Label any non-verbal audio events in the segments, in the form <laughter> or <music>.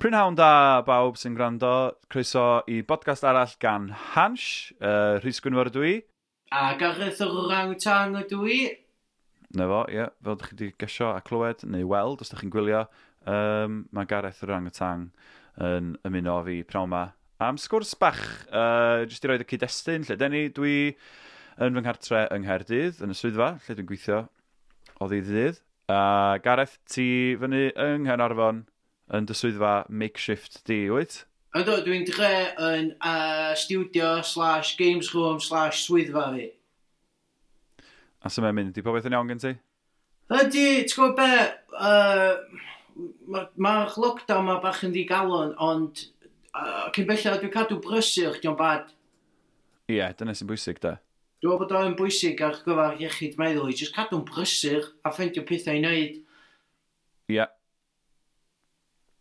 Prynhawn da bawb sy'n gwrando, croeso i bodgast arall gan Hansh, uh, Rhys Gwynfor ydw i. A Gareth o'r Rangtang ydw i. Na fo, ie, yeah, fel ydych chi wedi gesio a clywed neu weld, os ydych chi'n gwylio, um, mae Gareth o'r Rangtang yn ymuno â fi prawn ma. Am sgwrs bach, uh, jyst i roed y cyd-destun, lle deni dwi yn fy nghartre yng Nghaerdydd, yn y swyddfa, lle dwi'n gweithio o ddydd i ddydd. A Gareth, ti fyny yng Nghaernarfon yn dy swyddfa makeshift di, wyt? Ynddo, dwi'n dre yn uh, studio slash games room slash swyddfa fi. A sy'n mynd, di popeth yn iawn gen ti? Ydy, ti'n gwybod be, uh, mae'r ma ma'r lockdown ma bach yn ddigalon, ond uh, cyn bellio dwi'n cadw brysur, di'n bad. Ie, yeah, dyna sy'n bwysig da. Dwi'n meddwl bod o'n bwysig ar gyfer iechyd meddwl i, jyst cadw'n brysur a ffendio pethau i wneud. Ie.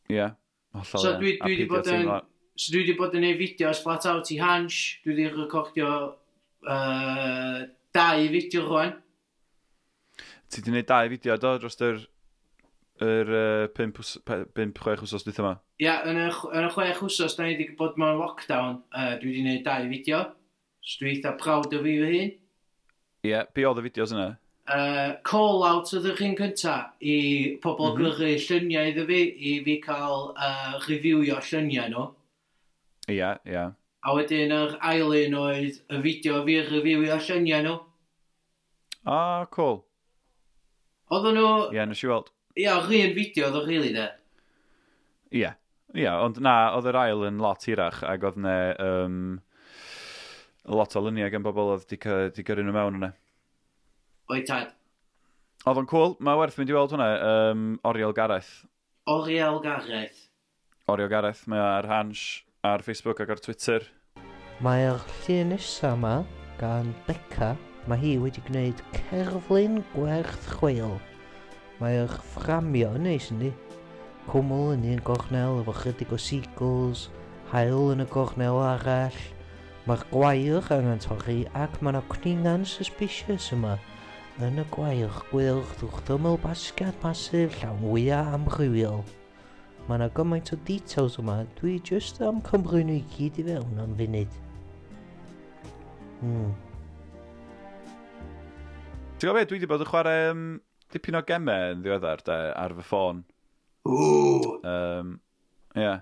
Ie. Hollol So ie. dwi- A dwi 'di peidio bod yn- teimlo- So dwi wedi bod yn gwneud fideos flat out i Hans, dwi wedi recordio uh, dau fideo rwan. Ti di gwneud dau fideo do dros yr yr 5-6 wsos dwi'n yma. Ia, yn, y ch- yn y chwech wsos, da ni wedi bod mewn lockdown, uh, dwi wedi gwneud dau fideo. So dwi eitha prawd o fi fy hun. Ie, yeah, be oedd y fideos yna? Uh, call out oedd yr un cynta i pobl mm Mhm. -hmm. gyrru lluniau iddo fi, i fi cael uh, reviewio lluniau nhw. Ie, yeah, ie. Yeah. A wedyn yr ail un oedd y fideo fi reviewio lluniau nhw. O, oh, cool. Oedden nhw, Ie, yeah, nes i weld. ia, yeah. un fideo oedd o rili de. Ie. Yeah. Ie, yeah, ond na, oedd yr ail yn lot hirach ac oedd ne um, lot o luniau gan bobl oedd di, cy- di gyrru nhw mewn yna. Oed tad. Oedd o'n cool, mae werth mynd i weld hwnna, um, Oriel Gareth. Oriel Gareth. Oriel Gareth, mae o ar Hans, ar Facebook ac ar Twitter. Mae'r llun nesa yma gan Beca, mae hi wedi gwneud cerflun gwerth chweil. Mae'r fframio yn neis yndi. Cwmwl yn un gornel efo chydig o seagulls, hael yn y gornel arall. Mae'r gwair angen torri ac mae yna cningan suspicious yma. Yn y gwair gwyrdd wrth ymyl basgad masif llawn wyau amrywiol. Mae yna gymaint o details yma, dwi jyst am cymryd nhw i gyd i fewn am funud. Hmm. Ti'n gwybod beth, dwi wedi bod yn chwarae um, dipyn o gemau yn ddiweddar de, ar fy ffôn. Ooh. Um, yeah.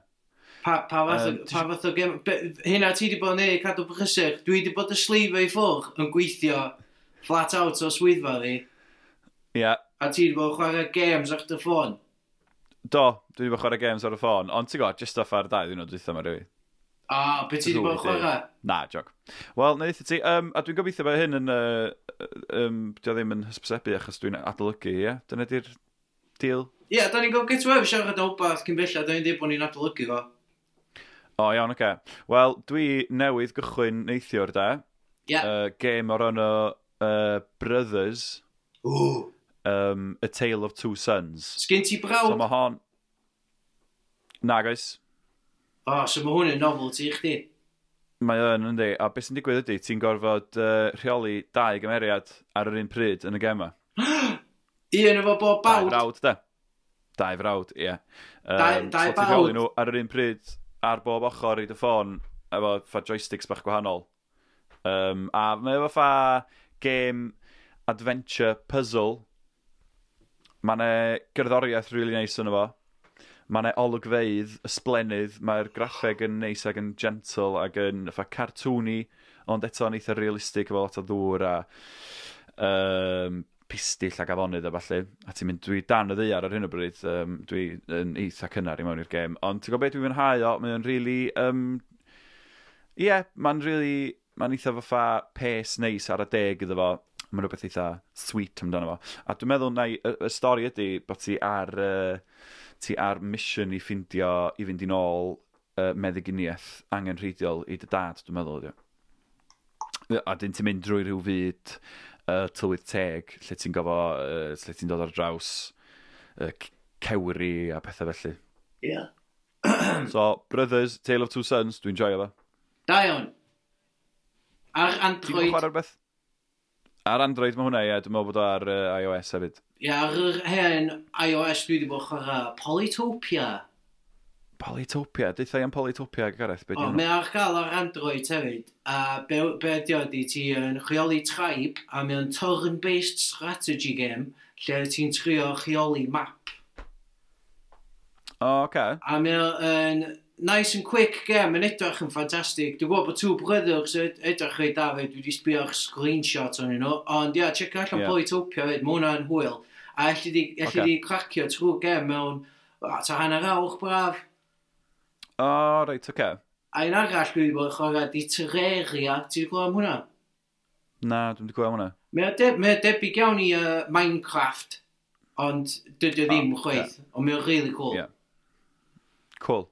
Pa, pa fath, Yym, um, ti- pa fath o gem... Be, hynna ti wedi bod yn ei cadw brysur. Dwi wedi bod y sleif ei ffwrch yn gweithio flat out o swyddfa fi. yeah. A ti wedi bod yn chwarae games ar dy ffôn. Do, dwi wedi bod chwarae games ar y ffôn, ond ti'n gwybod, just off ar dau ddyn nhw dwi'n ma rili. A, be ti wedi bod yn chwarae? Na, joc. Wel, na ddeitha ti, um, a dwi'n gobeithio bod hyn yn, uh, um, dio ddim yn hysbysebu achos dwi'n adolygu, ie? Yeah? Dyna di'r deal. Ie, yeah, da ni'n gofyn get away efo siarad o wbath cyn bella, da ni'n dweud bod ni'n adolygu fo. O, iawn, oce. Okay. Wel, dwi newydd gychwyn neithiwr da. Ie. Uh, game o'r enw uh, Brothers, Ooh. um, A Tale of Two Sons. Sgyn ti So brawd? mae hon... Na, guys. O, so mae hwn yn novelty i chdi. Mae o'n yndi, a beth sy'n digwydd ydy, ti'n gorfod uh, rheoli dau gymeriad ar yr un pryd yn y gema. Un efo Dau bob bawd. frawd, da. Dau frawd, ie. Um, Dau- dau So ti'n rheoli bawd. nhw ar yr un pryd ar bob ochr i dy ffôn, efo ffa joysticks bach gwahanol. Um, a mae efo ffa game adventure puzzle. Mae yna gerddoriaeth rili really neis yn efo. Mae yna olygfeidd, ysblennydd, mae'r graffeg yn neis ac yn gentle ac yn ffa cartoony, ond eto yn eitha realistig efo lot o ddŵr a um, pistill ac afonydd a falle. A ti'n mynd, dwi dan y ddeiar ar hyn o bryd, um, dwi yn eitha cynnar i mewn i'r gêm. Ond ti'n gwybod beth dwi'n mwynhau o, mae'n really... Um, Ie, yeah, mae'n really... Mae'n eitha fatha pes neis ar y deg iddo fo. Mae'n rhywbeth eitha sweet amdano fo. A dwi'n meddwl na i- y, y stori ydy bod ti ar... Uh, ti ar mission i ffindio, i fynd i nôl uh, meddyginiaeth angenrheidiol i dy dad, dwi'n meddwl ydy. o. A dyn ti'n mynd drwy rhyw fyd uh, tywydd teg, lle ti'n gofo, uh, lle ti'n dod ar draws uh, cewri a pethau felly. Ie. Yeah. <clears throat> So, Brothers, Tale of Two Sons, dwi'n joio fe. Da iawn. Ar Ti'n gwybod Android. chwarae rhywbeth? Ar Android mae hwnna, ie, dwi'n meddwl bod o ar uh, iOS hefyd. Ie, ar yr hen iOS dwi wedi bod chwarae Polytopia. Polytopia. Deitha i am Polytopia, Gareth. Be O, oh, mae ar gael ar Android hefyd. A be, be ydi o, di ti yn rheoli tribe, a mae o'n turn-based strategy game, lle ti'n trio rheoli map. oh, okay. A mae o'n nice and quick game, yn edrych yn ffantastig. Dwi'n gwybod bod Two Brothers yn edrych rhaid da fe, dwi wedi sbio ar screenshots o'n nhw. Ond ia, check allan Ie. yeah. Polytopia fyd, mae hwnna'n hwyl. A allu di, Ocê. okay. di cracio trwy game mewn, o, ta hanner awr braf. Oh, right, okay. A un arall dwi wedi bod yn chwarae di Terraria, ti'n gwybod am hwnna? Na, dwi'n gweld hwnna. Mae o de- mae o debyg iawn i uh, Minecraft, ond dydy o ddim O, chweith, ond mae o'n really cool. Ie. Cool.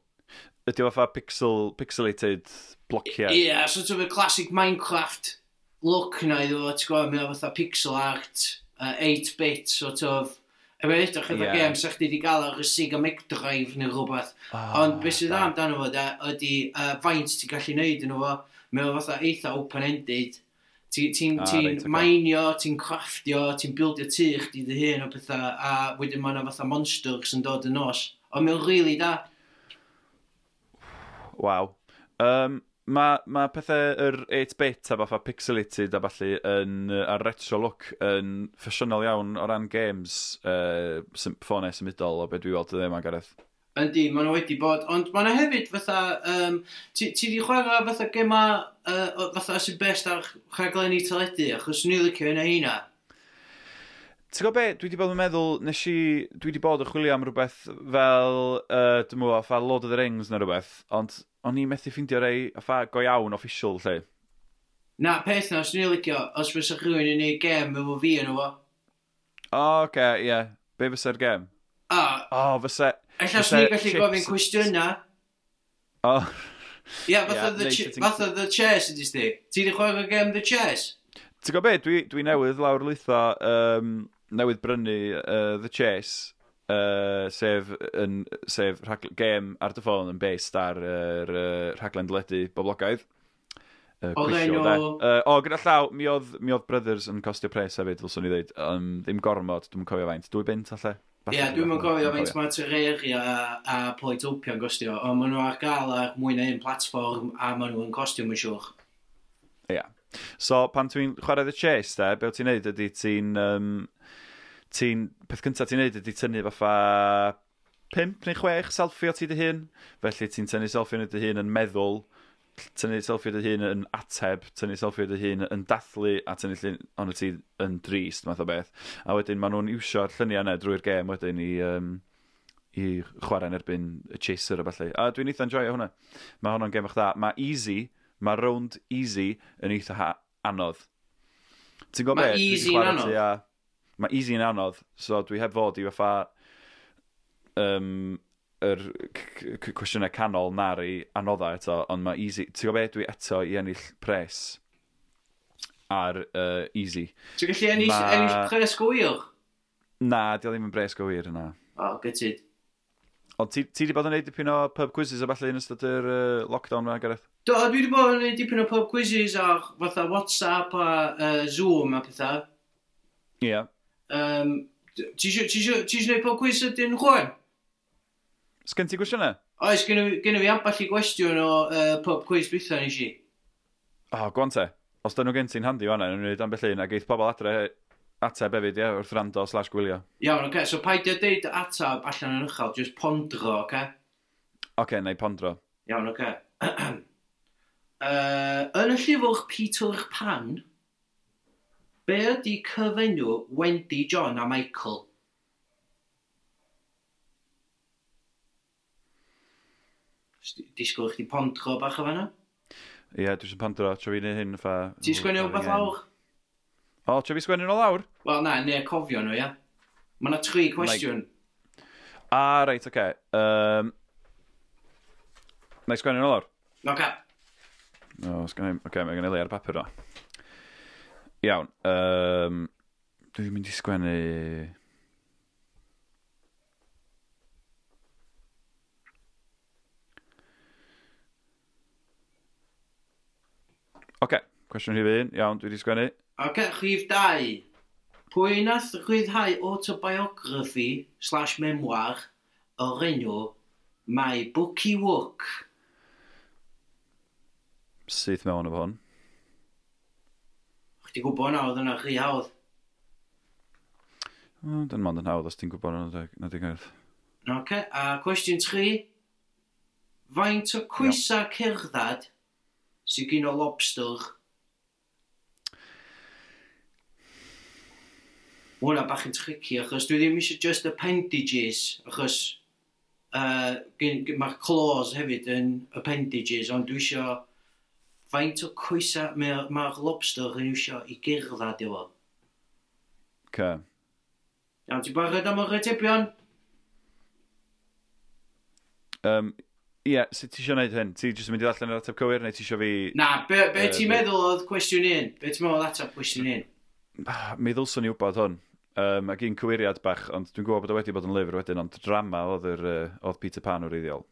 Ydy o fatha pixel, pixelated blociau? Ie, yeah, sort of a classic Minecraft look na iddo fo, ti'n gwybod, mae o fatha pixel art, uh, 8-bit, sort of. Efo edrych efo Ie. yeah. game, sa'ch chi wedi gael ar y Sega Mega Drive neu rhywbeth. Ah, Ond beth sydd da. amdano fo, de, ydy uh, faint ti'n gallu neud yn fo, mae o fatha eitha open-ended. Ti'n ti, Ah, ti ti reit, ocê. mainio, ti'n crafftio, ti'n buildio tu chdi dy hun o bethau, a wedyn mae yna fatha monsters yn dod yn nos. Ond mae'n rili really da. Waw. Um, Mae ma pethau yr 8-bit a fatha pixelated a falle yn, yy, a'r retro look yn ffasiynol iawn o ran games uh, ffonau symudol o beth dwi'n weld y ddim Gareth. Yndi, maen nhw wedi bod, ond maen nhw hefyd fatha, um, ti, ti di chwarae fatha gema, uh, o- fatha sy'n best ar rhaglenni teledu, achos ni'n licio yna hynna. Ti'n gwybod be, dwi wedi bod yn meddwl, nes i, dwi wedi bod yn chwilio am rhywbeth fel, uh, dwi'n mwyn, fa Lord of the Rings neu rhywbeth, ond o'n i methu ffeindio rei fa go iawn official lle. Na, peth na, os ni'n licio, os fysa rhywun yn ei gem efo fi yn efo. O, oh, oce, okay, ie. Yeah. Be fysa'r gem? A, O, oh, fysa... ella os fysa ni'n gallu chips- gofyn cwestiynau, O, oh, Ia, fatha, Ie, the, neu ch- sitting- fatha the Chairs ydy sti. Ti wedi chwarae gem The Chairs? Ti'n gwybod beth, dwi, dwi newydd lawr lwytho, um, newydd brynu uh, The Chase, uh, sef, yn, sef rhag, gêm ar dy ffôn yn based ar yr uh, rhaglen dyledu boblogaidd. Uh, O'r cwisio, enw- de. Uh, o, gyda llaw, mi oedd, mi oedd Brothers yn costio pres hefyd, ddylswn i ddeud. Um, ddim gormod, dwi'n cofio faint. Dwy bint, alle? Ie, yeah, dwi'n mwyn gofio faint mae Terraria a, a Poetopia'n gostio, ond maen nhw ar gael ar mwy na un platfform a maen nhw'n costio mae'n siwr. Ia. So, pan ti'n chwarae The Chase, de, be wyt ti'n neud ydy ti'n... Um, ti'n peth cyntaf ti'n neud ydy tynnu fatha 5 neu 6 selfie o ti dy hun. Felly ti'n tynnu selfie o dy hun yn meddwl, tynnu selfie o dy hun yn ateb, tynnu selfie o dy hun yn dathlu, a tynnu llun ond ti yn drist, math o beth. A wedyn maen nhw'n iwsio'r lluniau yna drwy'r gêm wedyn i, um, i chwarae yn erbyn y chaser a falle. A dwi'n eitha'n joio hwnna. Mae hwnna'n gêm o'ch da. Mae easy, mae round easy yn eitha ha- anodd. Ti'n gwybod Ma' beth? Dwi 'di easy'n chwarae anodd? tua- Mae easy yn anodd, so dwi heb fod i fatha um, yr c- c- cwestiynau canol na'r i anoddau eto, ond mae easy, ti'n gwybod beth dwi eto i ennill pres ar uh, easy. Ti'n gallu ennill, Ma- ennill pres gwyr? Na, di o ddim yn bres go wir yna. O, gytid. Ond ti, ti di bod yn neud dipyn o pub quizzes a falle yn ystod yr uh, lockdown yma, Gareth? Do, dwi wedi bod yn gwneud dipyn o pub quizzes ar fatha WhatsApp a uh, Zoom a pethau. Ie. Yeah. Um, ti isio ti isio- ti isio gwneud pub quiz ydyn chwan? Sgen ti gwestiynau? Oes, gynnu fi amball i gwestiwn o uh, pub quiz bethau nes i. O, oh, gwan te. Os dyn nhw gen ti'n handi fanna, nhw'n gwneud ambell un, a geith pobl adre ateb hefyd, ie, wrth rando slash gwylio. Iawn, oce, okay, so paidio deud atab allan yn uchel, just pondro, oce? Okay? Oce, okay, neu pondro. Iawn, oce. <clears throat> Okay. uh, yn y llyfr Peter Pan, be ydi cyfenw Wendy John a Michael? S- Disgwyl i chdi pondro bach o fanna? Ie, yeah, dwi'n pondro, tra fi'n hyn ffa... Ti'n sgwennu rhywbeth lawr? O, tra fi sgwennu nhw lawr? Wel na, neu cofio nhw, ia. Mae yna tri cwestiwn. A, Ah, reit, oce. Okay. Um, na i sgwennu nhw lawr? Like... Oce. O, oh, sgwennu... Oce, okay, mae gen i le ar y papur o. Iawn. Um, dwi'n mynd i sgwennu... Oce, okay, cwestiwn rhif un. Iawn, dwi wedi sgwennu. Oce, rhif 2. Pwy nath rhyddhau autobiography slash memoir o'r enw My Bookie Wook. Syth mewn efo hwn. Chdi gwybod na, oedd yna rhy hawdd. Oh, Dyn ma'n dyn hawdd os ti'n gwybod yn y gyrth. Oce, a cwestiwn tri. Faint o cwysa cerddad sy'n gyn o lobster? Ma' Hwnna bach yn tricky, achos dwi ddim eisiau just appendages, achos uh, mae'r claws hefyd yn appendages, ond dwi eisiau faint o coesa mae'r ma lobster yn eisiau i gerdded efo. Okay. Iawn, ti'n barod am yr atebion? Um, Ie, yeah, sut ti eisiau gwneud hyn? Ti jyst yn mynd i ddallan yr ateb cywir, neu ti eisiau fi... Na, be, be Yy, ti'n be- meddwl oedd cwestiwn un? Be ti'n meddwl atab cwestiwn un? Ah, Mi ddylswn i wybod hwn. Um, ac un cywiriad bach, ond dwi'n gwybod bod o wedi bod yn lyfr wedyn, ond drama oedd, yr, uh, oedd Peter Pan o'r iddiol.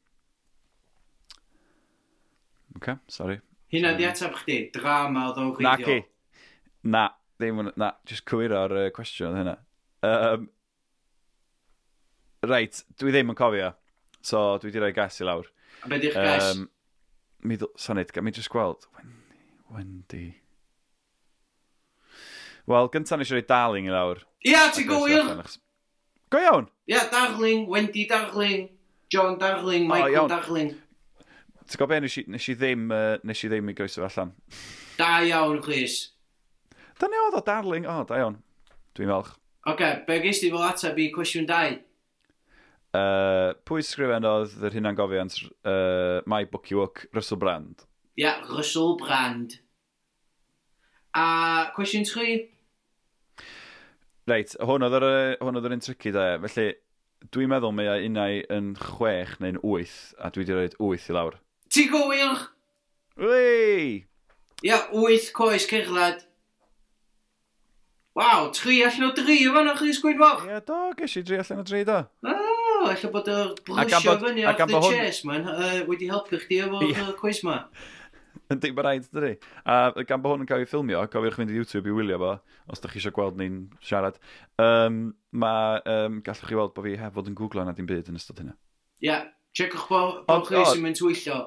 OK, sorry. Hynna di atab chdi, drama oedd o'n Na rhywio. ki. Na, ddim yn... Na, jyst cywirio'r uh, cwestiwn oedd hynna. Um, reit, dwi ddim yn cofio. So, dwi wedi rhoi gas i lawr. A be di'ch gas? Um, mi ddw... Sanid, mi jyst gweld... Wendy, Wendy... Wel, gyntaf nes i roi darling i lawr. Ia, ti'n gywir? Go iawn! Ia, Darling, Wendy Darling, John Darling, O, Michael iawn. Darling. Ti'n gwybod be, nes i, nes i ddim, uh, nes i ddim i goesio fo allan. Da iawn, Chris. Da ni oedd o darling, o, da iawn. Dwi'n falch. Oce, be gys ti fel atab i cwestiwn 2? Uh, pwy sgrifen oedd yr hynna'n gofiant uh, My Bookie Wook, Russell Brand? Ia, Russell Brand. A cwestiwn 3? Reit, hwn oedd yr, yy, hwn oedd yr un tricky da, felly dwi'n meddwl mae o unau yn chwech neu'n wyth, a dwi wedi rhoi wyth i lawr. Ti'n gywir? Wei! Ia, 8 coes cerdded. Waw, 3 allan o 3 yma na Chris Gwynfoch. Ie, do, ges i dri allan o dri, do. Oh, alla bod y am brwsio bod- fyny ac ar am the bod hwn- chest, man, uh, wedi helpu chdi efo'r Ie. yeah. cwis ma. Yn dim rhaid, dydy. A gan bod hwn yn cael ei ffilmio, cofiwch fynd i YouTube i wylio fo, os ydych chi eisiau gweld ni'n siarad. Um, Mae, um, gallwch chi weld bod fi heb fod yn googlo na dim byd yn ystod hynna. Ia, yeah. checwch bo, bo Ond- Chris o- yn mynd wyllio.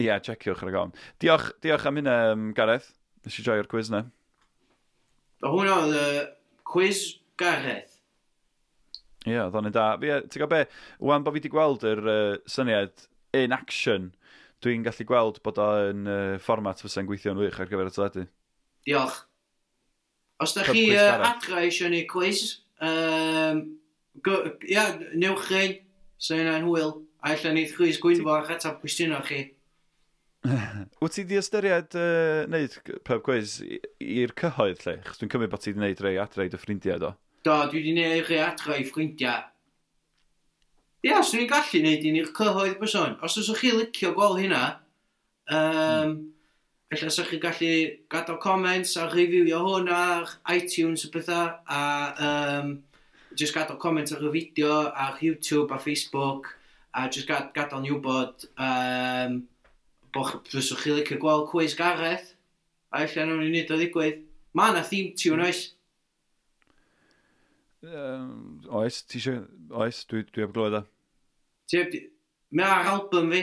Ie, yeah, checiwch ar y gofn. Diolch, diolch am hynna, um, Gareth. Nes i joio'r quiz na. O hwnna oedd y cwis Gareth. Ie, yeah, ddo'n yn da. Fi, yy, Ti'n gwybod be, wwan bod fi wedi gweld yr uh, syniad in action, dwi'n gallu gweld bod o'n uh, fformat fysa'n gweithio'n wych ar gyfer y teledu. Diolch. Os da Pub chi quiz uh, Gareth. adra eisiau ni cwis, um, ia, newch chi, sy'n yna'n hwyl. A allan ni Chris Gwynfo ac atab cwestiynau chi. Wyt ti di ystyried uh, wneud pub quiz i- i'r cyhoedd lle? Chos dwi'n cymryd bod ti di wneud rei adre i dy ffrindiau do. Do, dwi wedi gwneud chi adra i ffrindiau. Ia, os dwi'n gallu gwneud un i'r cyhoedd person. Os oes chi licio gweld hynna, um, efallai os chi gallu gadael comments a reviewio hwn ar iTunes a pethau, a um, just gadael comments ar y fideo, ar YouTube, a Facebook, a just gad, gadael ni wybod um, bod fyswch chi licio gweld cwis Gareth, a efallai nhw'n ei wneud o ddigwydd. Mae yna theme tune oes. Um, oes, ti eisiau... Oes, dwi, dwi heb glywed o. Ti heb... Mae ar album fi.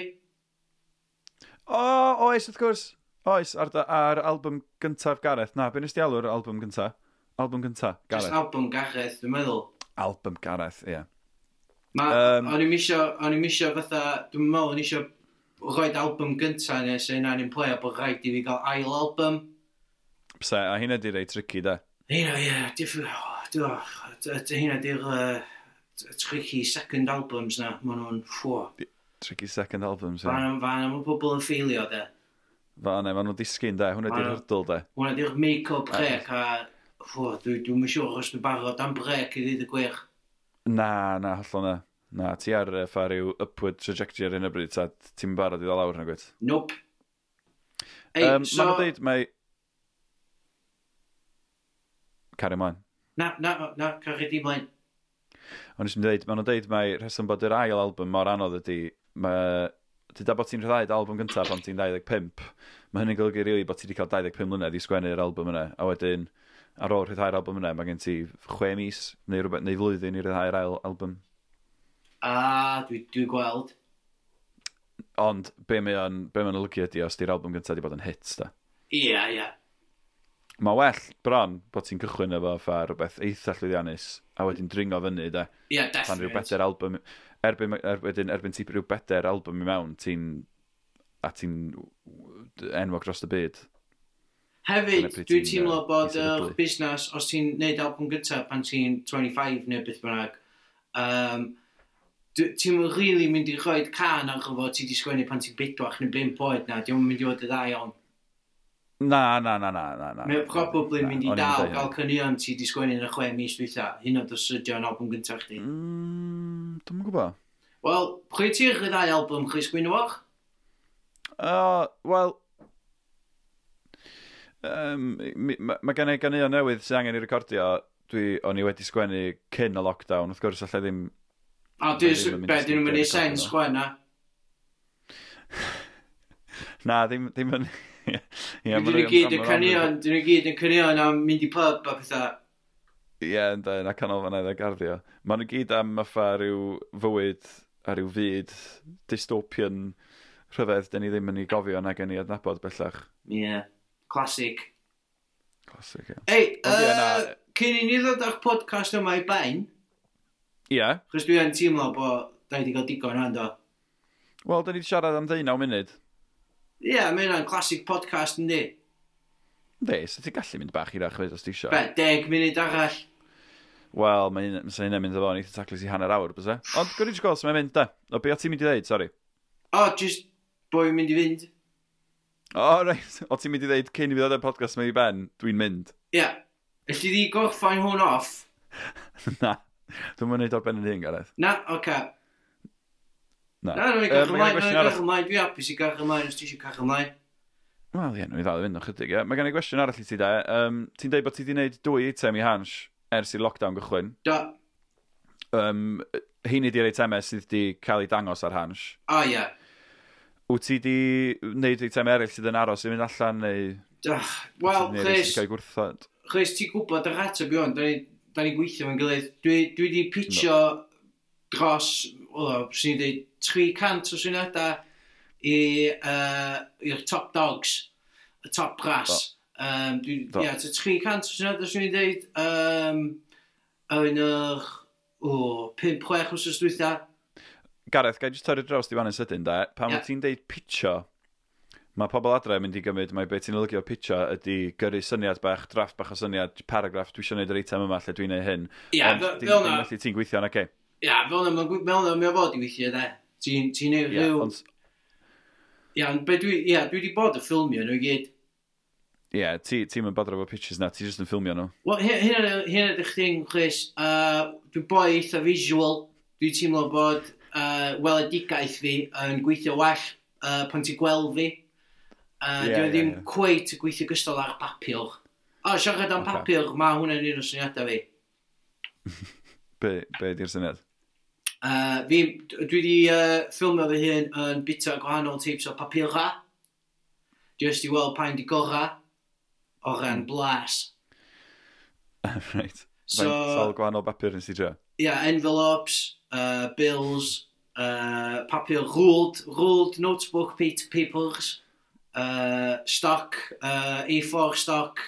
O, oes, wrth gwrs. Oes, ar, dy- ar album gyntaf Gareth. Na, be nes di alw'r album gyntaf? Album gyntaf, Just Gareth. album Gareth, dwi'n meddwl. Album Gareth, ie. Yeah. Ma, Yym. um, o'n i'n isio, o'n i'n isio fatha, dwi'n meddwl, o'n i'n isio roed album gynta neu sy'n na'n i'n play a bod rhaid i fi gael ail album. Pse, a hynna di rei tricky, da. Hynna, ie, diffyg, hynna di'r uh, tricky second albums na, maen nhw'n ffwo. Tricky second albums, ie. Yeah. Fan am y pobl yn ffeilio, de. Fa, ne, maen nhw'n disgyn, da. Hwna di'r Wel. hurdle, da. Hwna di'r make-up break a, ffwo, dwi'n siŵr os dwi'n barod am break i ddweud y gwych. Na, na, hollol na. Na, ti ar uh, ffa ryw upward trajectory ar hyn o bryd, ta ti'n barod i ddod lawr na gwyt. Nope. Ei, Um, so... so... Mae'n dweud, mae... Cari mlaen. Na, na, na, cari di blaen. Ond ysyn dweud, mae'n dweud mai rheswm bod yr ail album mor anodd ydy, mae... Dyda bod ti'n rhaid album gyntaf pan ti'n 25, mae hynny'n golygu rili bod ti wedi cael 25 mlynedd i sgwennu'r album yna, a wedyn ar ôl rhyddhau'r album yna, mae gen ti 6 mis neu, rhywbeth, neu flwyddyn i rhyddhau'r ail album. A, dwi, dwi gweld. Ond be mae'n be mae olygu ydi os di'r album gyntaf wedi bod yn hit, da. Ia, ia. Mae well bron bod ti'n cychwyn efo ffa rhywbeth eitha llwyddiannus a wedyn dringo fyny, da. Ia, Pan rhyw definite. bedair album... Erbyn, er, wedyn, erbyn ti rhyw bedair album i mewn, ti'n... A ti'n enwog dros y byd. Hefyd, Dyna pryd dwi'n ti'n, teimlo yy, bod eitha yr dyblu. busnes, os ti'n neud album gyntaf pan ti'n 25 neu beth bynnag, um, ti'n really mynd i rhoi can ar gyfo ti di sgwennu pan ti'n bedwach neu 5 oed na, diolch yn mynd i fod y dda iawn. Na, na, na, na, na. na. Mae'n probably Na, mynd i o'n i'n dal deud hynna. gael cynnion ti di sgwennu yn y 6 mis dwytha, hyn oed os ydy o'n album gyntaf chdi. Mm, Dwi'n gwybod. Wel, pwy ti'r rhyddau album chi sgwennu o'ch? Uh, Wel... Um, Mae ma gen i ganeuon newydd sy'n angen i recordio. Dwi, o'n i wedi sgwennu cyn y lockdown. Wrth gwrs, allai ddim... A Ma' ddim yn dwi'n mynd be, i dwi'n mynd i sgwennu sens copy chwenna. Na, ddim, ddim yn... <laughs> Ie, Dwi'n ma' nhw nhw- gyd yn ma' nhw- cynnion, dwi'n nhw gyd yn cynnion am mynd i pub a pethau. Ie, ynda, yn y canol fan edrych garddio. Maen nhw gyd am yffa rhyw fywyd a rhyw fyd dystopian rhyfedd dyn ni ddim yn ei gofio nag yn ei adnabod bellach. Ie, classic. Classic, ie. Ei, Ond ie, na. yy, cyn i ni ddod â'r podcast yma i ben, Ie, chos dwi yn teimlo bod da i wedi cael digon hwn, do. wel, dyn ni 'di siarad am 19 munud. Ie, mae hynna'n classic podcast yn di. Ynddi, so ti'n gallu mynd bach i'r achwyd os ti isio. Be, deg munud arall. Wel, mae hyn- mae hynna'n mynd o fo'n eitha taclus i hanner awr, bysa. Ond gwrdd i'n gweld sy'n mynd, da. O, be o ti'n mynd i ddeud, sori? O, just boi mynd i fynd. O, reit, o ti'n mynd i ddeud cyn i fi ddod y podcast mewn i ben, dwi'n mynd. <laughs> Ie, ysdi di gorffain hwn off? Na, dwi'n mynd i dod ben yn hyn, Gareth. Na, oce. Na, Na, nhw'n Yy, mae gen i garch ymlaen, gwestiwn nhw'n arall. garch ymlaen, dwi hapus i garch ymlaen os ti eisiau garch ymlaen. Wel, ie, nhw i ddal i fynd o chydig, ie. Mae gen i gwestiwn arall i ti da. Um, ti'n dweud bod ti wedi gwneud dwy item i hans ers i'r lockdown gychwyn. Do, Um, hein i di'r eitemau e sydd wedi cael ei dangos ar hans. o ie. Wyt ti wedi gwneud eitemau eraill sydd yn aros i mynd allan neu... Do. Wel, neu eraill sydd Chris, wedi cael ei gwrthod? Chris, ti'n gwybod yr ateb i hwn, da ni, da ni gweithio mewn gilydd. Dwi, dwi di pitio dros, o, sy'n dweud, 300 o syniadau i, uh, i'r top dogs, y top brass. Um, dwi, Do. ia, ta 300 o syniadau sy'n dweud, um, yn yr, o, 5-6 wrsos dwytha. Gareth, gai jyst torri draws di fan yn sydyn da. Pan Ie. yeah. ti'n deud pitcho, mae pobl adre yn mynd i gymryd, mae beth ti'n olygio pitcho ydy gyrru syniad bach, draft bach o syniad, paragraff, dwi eisiau gwneud yr eitem yma lle dwi'n gwneud hyn. Ia, Ond fel dim- fel dim na, felly ti'n gweithio, na, ia, fel na, mae'n gw- fel na, mae'n fod i weithio, da. Ti'n ti neud Ie, rhyw... ond Ia, ond be dwi, ia, dwi di bod y ffilmio nhw i gyd. Ie, yeah, ti, ti'n mynd bodro efo pictures na, ti jyst yn ffilmio nhw. Wel, hy- hyn yn- hyn ydych chi'n, Chris, uh, dwi'n boi eitha visual, dwi'n teimlo bod uh, weledigaeth fi yn gweithio well uh, pan ti'n gweld fi. Ie, Uh, yeah, ie, dwi'n ddim ie. yeah. cweit yn gweithio gystal ar papur. O, siarad am Ocê. papur, mae hwnna'n un o syniadau fi. Be, be di'r syniad? <laughs> Uh, fi dwi wedi uh, ffilmio fy hun yn bita gwahanol types o papura. Just i weld pa'n di gora o ran blas. right. So... So, Sal gwahanol bapur yn sidio. yeah, envelopes, uh, bills, uh, papur ruled, ruled notebook pa- papers, uh, stock, uh, A4 stock,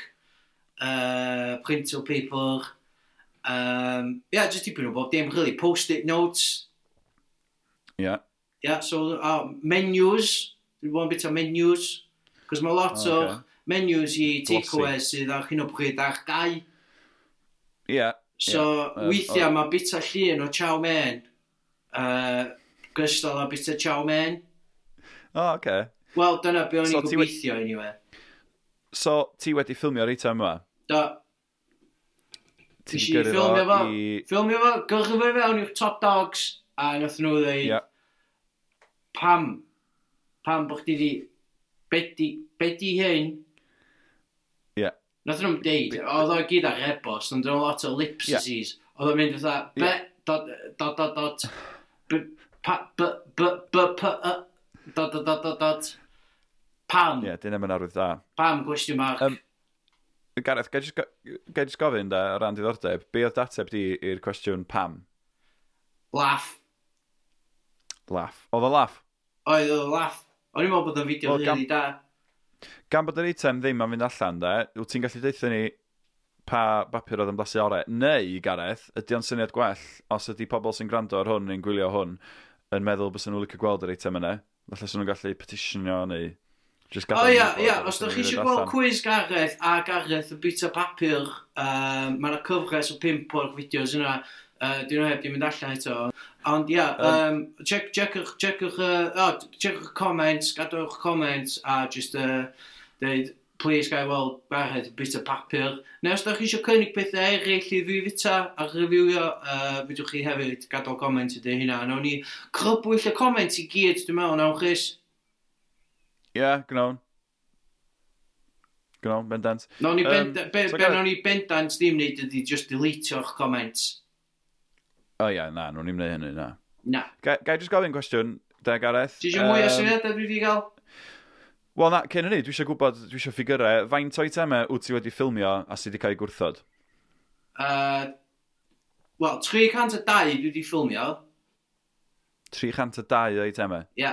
uh, printer paper. Um, yeah, just dipyn o bob dim, really. Post-it notes. Ie. Yeah. Yeah, so uh, menus. Dwi'n bod yn bit o menus. Cos mae Oh, lot okay. ocê. o menus i Glossy. takeaways sydd ar hyn o bryd ar gau. Ie. Yeah. So, Ie, yym, yeah, weithiau mae bita llun o chow mein, uh, gystal â bita chow mein. O, oh, oce. Okay. Wel, dyna be o'n So i'n ti we- gobeithio, anyway. So, ti wedi ffilmio'r eitem yma? Do, Ti Wnes wedi i gyrru ffilmio fo fo. i... ffilmio fo, gyrchu fe fewn i'r Top Dogs, a nath nhw ddeud, Ie. pam, pam bod chdi di, bedi, bedi hyn. Ie. Nath nhw'n deud, oedd o gyd ar e-bost, ond oedd lot o ellipses. Oedd o'n mynd fatha, be, dot, dot, dot, dot, b, pa, b, b, b, p, y, dot, dot, dot, dot, dot. Pam, Ie, dyn e'n arwydd da. pam, gwestiwn mark. Yym, Gareth, gai jyst go- gai jyst gofyn da o ran diddordeb, be oedd dateb di i'r cwestiwn pam? Laff. Laff. Oedd o laff? Oedd o laff. O'n i'n meddwl bod o'n fideo Wel, gan- rili da. Gan bod yr eitem ddim yn fynd allan, de, wyt ti'n gallu deitha ni pa bapur oedd ymlasu ore, neu, Gareth, ydy o'n syniad gwell os ydy pobl sy'n gwrando ar hwn neu'n gwylio hwn yn meddwl bys nhw'n licio gweld yr eitem yna, falle sy'n nhw'n gallu petitionio neu... Just O ia, ia, os ydych chi eisiau gweld cwiz Gareth a Gareth y bita papur, um, mae yna cyfres o pimp o'r fideos yna, uh, dwi'n heb di mynd allan eto. Ond ia, um, check, check'ch, check'ch, uh, oh, check'ch comments, gadwch comments a just uh, deud, please gai weld Gareth y bita papur. Neu os ydych chi eisiau cynnig pethau eraill i fi fita a reviewio, uh, fydwch chi hefyd gadw comment i dy hynna. Nawn ni crybwyll y comment i gyd, dwi'n meddwl, nawn chys. Ia, gnawn. Gnawn, bendant. No, ni Yym, benda, be, so be Gareth- nawn ni bendant ddim wneud ydi just deleteo'ch comments. O ia, na, nhw'n i'n gwneud hynny, na. Na. Ga ga i just gofyn cwestiwn, de, Gareth? Ti eisiau mwy o Yym, syniadau dwi wedi cael? Wel na, cyn hynny, dwi eisiau gwybod, dwi eisiau ffigurau, faint o eitemau wyt ti wedi ffilmio a sydd wedi cael ei gwrthod? Uh, Wel, 302 dwi wedi ffilmio. 302 o eitemau. Ia.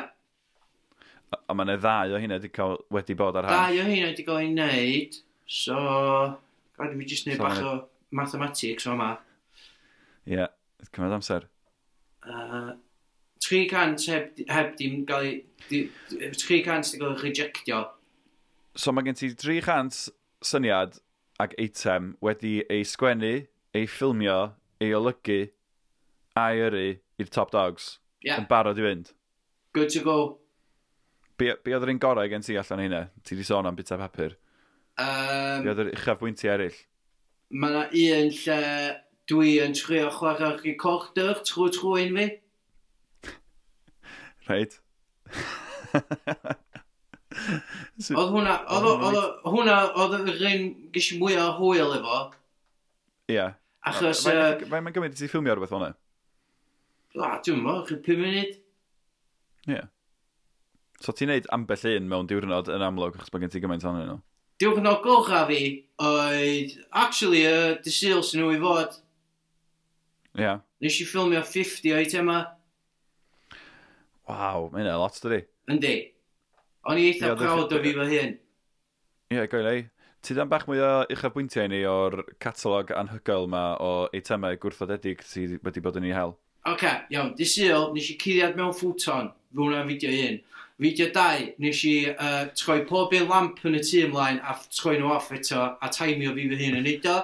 A- A mae yna ddau o hynny wedi, cael, wedi bod ar Dau hand. o hyn wedi cael ei wneud. So, gadi fi just wneud So bach ma' o mathematics o yma. Ie, yeah, cymryd amser. Uh, 300 heb, heb dim gael ei... di- 300 wedi cael ei rejectio. So mae gen ti 300 syniad ac eitem wedi ei sgwennu, ei ffilmio, ei olygu, a'i yrru i'r top dogs. Ia, Yn barod i fynd. good to go. Be, be oedd yr un gorau gen ti allan hynna? Ti di sôn am bita papur. Um, Be oedd yr uchaf bwynti eraill? Mae yna un lle dwi yn trio chwarae'r recorder trwy trwy un fi. Reit. <laughs> Oedd hwnna, oedd o- oedd o- hwnna, oedd yr un gysi mwy o hwyl efo. Ie. Achos, Faint- yy, Faint mae'n gymryd i ti ffilmio rhywbeth hwnna? o, dwi'n mo, chi 5 munud. So ti'n neud ambell un mewn diwrnod yn amlwg achos bod gen ti gymaint ohonyn nhw. Diwrnod gorau fi oedd, actually, y dysil sy'n nhw i fod. Ie. Yeah. Nes i ffilmio 50 o'i tema. Waw, mae hynna lot dydi. Yndi. O'n i eitha Ie, oedd y- proud o fi fy hyn. Ie, yeah, goel ei. Ti dan bach mwy o uchaf bwyntiau i ni o'r catalog anhygoel ma o eitemau gwrthodedig sydd wedi bod yn ei hel. Oce, iawn, dysil, nes i cuddiad mewn ffwton. Fy hwnna'n fideo un. Fideo 2, nes i uh, troi pob un lamp yn y tŷ ymlaen a f- troi nhw off eto a taimio fi fy hun yn neud o.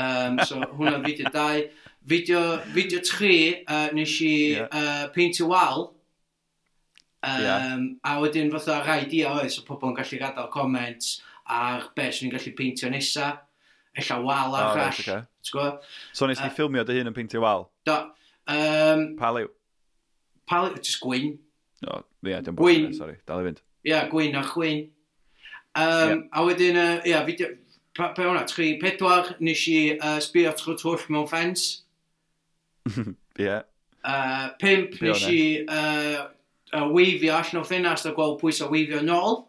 Um, so hwnna'n fideo 2. Fideo, fideo 3, uh, nes i Ie. yeah. uh, peintio wal. Um, Ie. A wedyn fatha rai di a oedd, so pobl yn gallu gadael comments ar beth sy'n ni'n gallu peintio nesa. Ella wal O, arall. reit, ocê. T'w gwbo? So nes ti Yy. ffilmio dy hun yn peintio wal. Do. Um, Pa liw? pal, just gwyn, O, ie, dwi'n Gwyn. bwysig. Sorry, dal i fynd. Ia, yeah, gwyn a chwyn. Um, A wedyn, yy, ia, uh, yeah, fideo... Pa, pa hwnna, tri, pedwar, nes i uh, sbio trwy twll mewn ffens. Ie. Yeah. Uh, pimp, Be nes hwnna? i uh, uh, weifio allan o ffenast a gweld pwys o weifio nôl.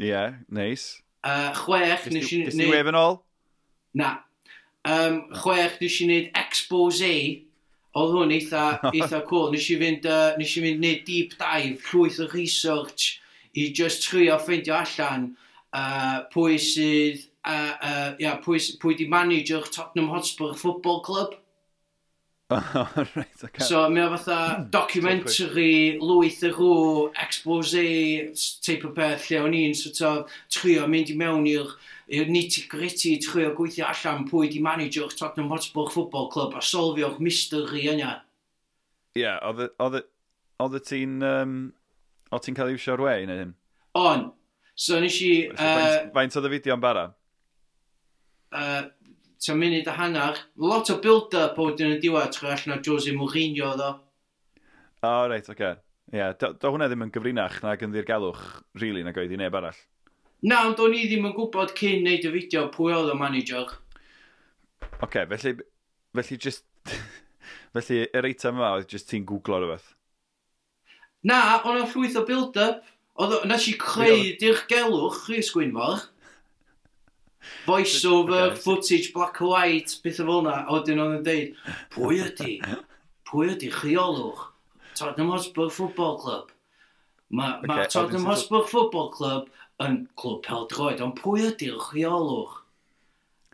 Ie, yeah, neis. Uh, chwech, Nice. nes i... Gys ti neud- wef yn ôl? <laughs> Na. Um, chwech, nes i wneud expose. Oedd hwn eitha, eitha cool. Nes i fynd, uh, nes i fynd wneud deep dive, llwyth o research, i just trio ffeindio allan uh, pwy sydd, uh, uh, yeah, pwy, s- pwy di manager Tottenham Hotspur Football Club. O, reit, oce. So, mae o fatha documentary, lwyth y rŵ, expose, s- type o beth lle o'n i'n sort of trio mynd i mewn i'r i'r nitty gritty, trio gweithio allan pwy di manager Tottenham Hotspur Football Club a solfio'r mystery yna. Ie, oedd y- oedd y- oedd y ti'n... yym, Oedd ti'n cael ei wsio'r wei neu hyn? On, so nes i, So, uh, faint- Faint oedd y fideo'n bara? uh, ta munud a hanner, lot o build-up o dyn y diwedd trio allan o Jose Mourinho ddo. O, reit, oce. Ie, do do hwnna ddim yn gyfrinach nag yn ddirgelwch, rili, nag oedd i neb arall. Na, ond o'n i ddim yn gwybod cyn neud y fideo pwy oedd y manager. Oce, felly, felly just... <laughs> felly, yr eitem yma oedd just ti'n googlo rhywbeth. Na, ond o'n llwyth o build-up. Oedd, o- nes i creu dirgelwch, Rhys Gwynfor. Voice-over, Ocê. footage, black and white, beth o fel na. A wedyn oedd yn deud, pwy ydi? Pwy ydi chiolwch? Tottenham Hotspur Football Club. Mae ma Ocê, okay, Tottenham obviously- Hotspur Football Club yn clwb peldroed, ond pwy ydy'r chwiolwr?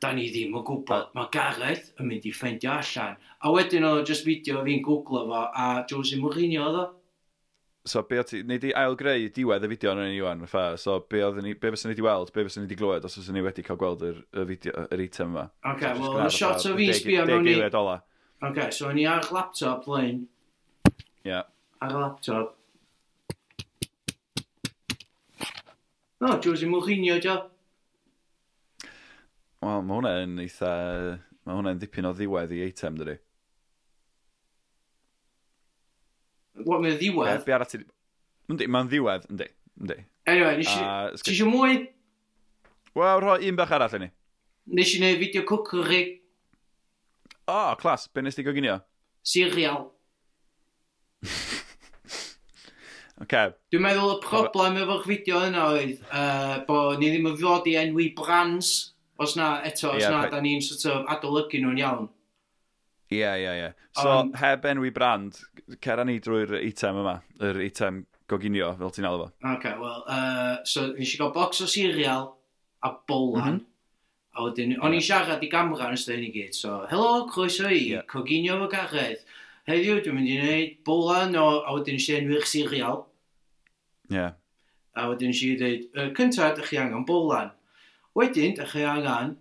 Da ni ddim yn gwybod. Mae Gareth yn mynd i ffeindio allan. A wedyn o, just fideo fi'n googlo fo, a Jose Mourinho oedd o. So, be o ti... Neu di ail greu diwedd y fideo yn ni wan, fatha. So, be, oedden ni, be fysa ni di weld, be fysa ni di glywed, os fysa ni wedi cael gweld yr, y fideo, yr item yma. Ok, wel, y shot o fi'n sbio mewn i... Deg eiliad ola. Ok, so o'n i ar laptop, Blaen, Ie. ar laptop. No, Jose Mourinho, jo. Wel, mae hwnna yn eitha... Mae hwnna yn ddipyn o ddiwedd i item, dydy. What, mae'n Be, ddiwedd. be arall ti... Yndi, mae'n ddiwedd, yndi. Yndi. Anyway, nes i... A, Ti sgyn... eisiau mwy? Wel, rhoi un bach arall i ni. Nes i wneud fideo cwcwri, O, oh, clas, be nes ti goginio? serial. Oce, okay. Dwi'n meddwl y problem efo'r fideo yna oedd uh, bod ni ddim yn fod i enwi brands, os na, eto, os Ie, na, pa- da ni'n sort of adolygu nhw'n iawn. Ie, ie, ie. So, Ond- heb enwi brand, cera ni drwy'r item yma, yr item goginio, fel ti'n alw fo. Ok, wel, uh, so nes i gael box o cereal a bolan. Mhm. A wedyn, o'n i'n siarad i gamera yn ystod hyn i gyd, so, helo, croeso i, Ie. coginio fo garedd. Heddiw, dwi'n mynd i wneud bolan o, a wedyn nes i enwi'r cereal. Ie. <laughs> Yeah. A wedyn nes i dweud, y cyntaf, dych chi angen bolan. Wedyn, dych chi angen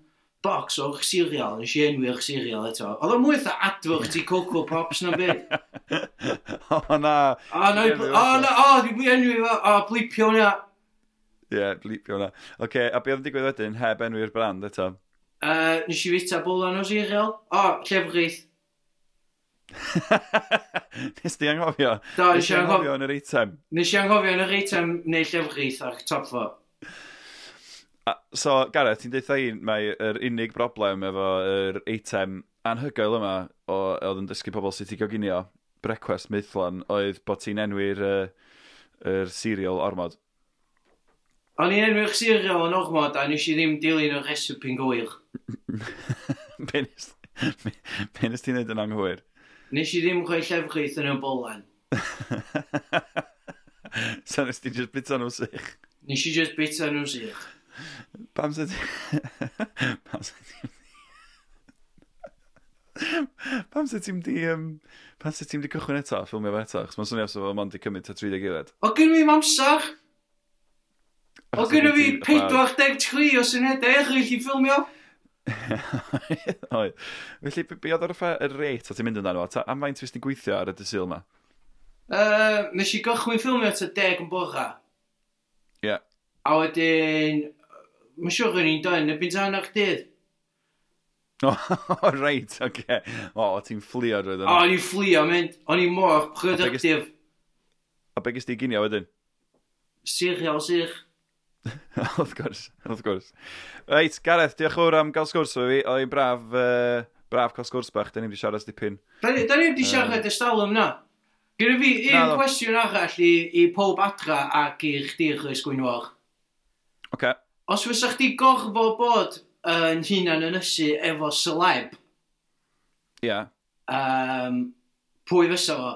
box o'r cereal, nes i enwi'r cereal eto. Oedd o mwy eitha adfwrt i Coco Pops na byd. <laughs> o, na. O, no, i- o, no, o, dwi'n enwi fo, o, blipio hwnna. Ie, yeah, blipio hwnna. Oce, okay, a beth oedd yn digwydd wedyn, heb enwi'r brand eto? <laughs> Uh, nes i fita bolan o cereal. O, llefrith. Nes di anghofio? Do, Nes nes di i anghofio. anghofio yn yr item? Nes i anghofio yn yr eitem neu llefrith ar top fo. A, so, Gareth, ti'n deitha un, mae yr unig broblem efo yr eitem anhygoel yma o, oedd yn dysgu pobl sut i goginio brecwast meithlan oedd bod ti'n enwi'r uh, er cereal ormod. O'n i'n enwi'r cereal yn ormod a nes i ddim dilyn y resipi'n gywir. <laughs> Be nes be nes ti'n neud yn anghywir? <laughs> Nes i ddim rhoi llefrith yn y bolan. so nes ti'n just bita nhw sych. Nes i just bita nhw'n sych. Pam sy'n ti... <laughs> Pam sy'n ti... <laughs> Pam sy'n ti'n di... Um, pam sy'n ti'n di cychwyn eto, ffilmio fe eto, achos mae'n swnio sef o mond i cymryd ta 30 eiliad. O gyn fi'm amser! O Achos gyn oeddet fi ti'n- 43 o syniadau eraill i ffilmio! <laughs> Oedd. Felly, be- be oedd yr effe- y rate o ti'n mynd amdano fo? Ta- Am faint fes ti'n gweithio ar y dysil yma? Yy, nes i gychwyn ffilmio ta 10 yn bora. Ie. A wedyn... Mae'n siŵr o'n i'n dod yn y byd ano'r dydd. <laughs> O, reit, oce. O, o, ti'n fflio roedd O, yna. o'n i'n fflio, mynd. O'n i'n mor productive. A be gys ti ginio wedyn? Serial sych. <laughs> Wrth gwrs, wrth gwrs. Reit, Gareth, diolch yn fawr am gael sgwrs efo fi. Oedd hi'n braf, uh, braf cael sgwrs bach. Da ni wedi siarad dipyn. Da ni da ni wedi siarad y stalwm na. Gyda fi Na, un do. cwestiwn arall i, i pob adra ac i chdi Rhys Gwynfor. Oce. Os fysa chdi gorfod bod yn hunan yn ysu efo celeb, Ia. um, pwy fysa fo?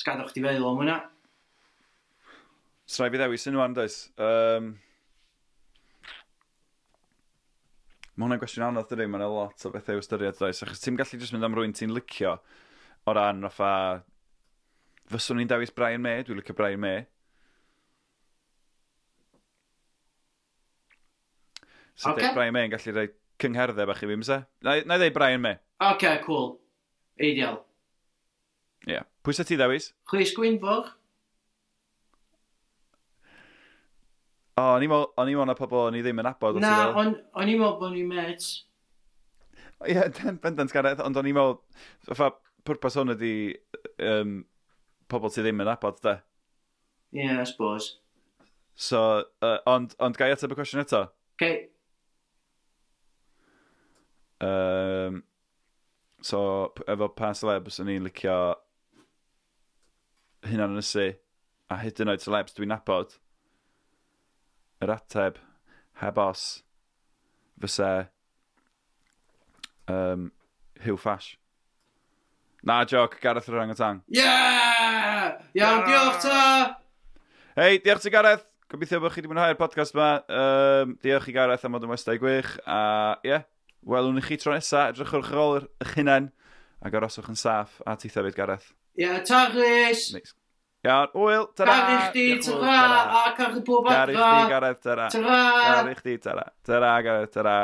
Sgadwch chdi feddwl am hwnna. Srai fi ddewis yn wan, does. Um, Mae hwnna'n gwestiwn anodd dydy, mae'n lot o bethau o ystyried does, achos ti'n gallu jyst mynd am rwy'n ti'n licio o ran o ffa... Fyswn ni'n dewis Brian May, dwi'n licio Brian May. So Ocê. okay. Brian May yn gallu rhoi cyngherddau bach i fi, mysa? Na i ddweud Brian May. Oce, cool. Ideal. Ie. Yeah. Pwy sa ti ddewis? Rhys Gwynfor? O, o'n i'n meddwl- o'n i'n meddwl na pobl o'n i ddim yn abod. os Na, i fel- o'n o'n i'n meddwl bod ni'n met. Ie, yeah, bendant Gareth, ond o'n i'n meddwl, fa pwrpas hwn ydi um, pobl sydd ddim yn abod, da. Ie, yeah, I suppose. So, uh, ond, ond gai ateb y cwestiwn eto? Okay. Um, so, p- efo pa celeb, os o'n i'n licio hunan yn ysu, a hyd yn oed celebs dwi'n abod, yr ateb, heb os, fysa um, Hugh Fash. Na, joc, Gareth yr Orangutan. Yeah! Iawn, diolch ta! Hei, diolch ti Gareth. Gobeithio bod chi wedi mwynhau'r podcast yma. Um, diolch i Gareth am fod yn westau gwych. A ie, yeah, welwn i chi tro nesa. Edrychwch ar ôl yr- eich hunain. A goroswch yn saff. A ti thefyd Gareth. Ie, ta Rhys! Neis. Iawn, wyl, ta-ra. Car i chdi, Diolch yn fawr, ta-ra. ta-ra! A car i bob Car i chdi adra! Gareth, ta-ra. Ta-ra! Car i chdi, ta-ra. Ta-ra Gareth, ta-ra.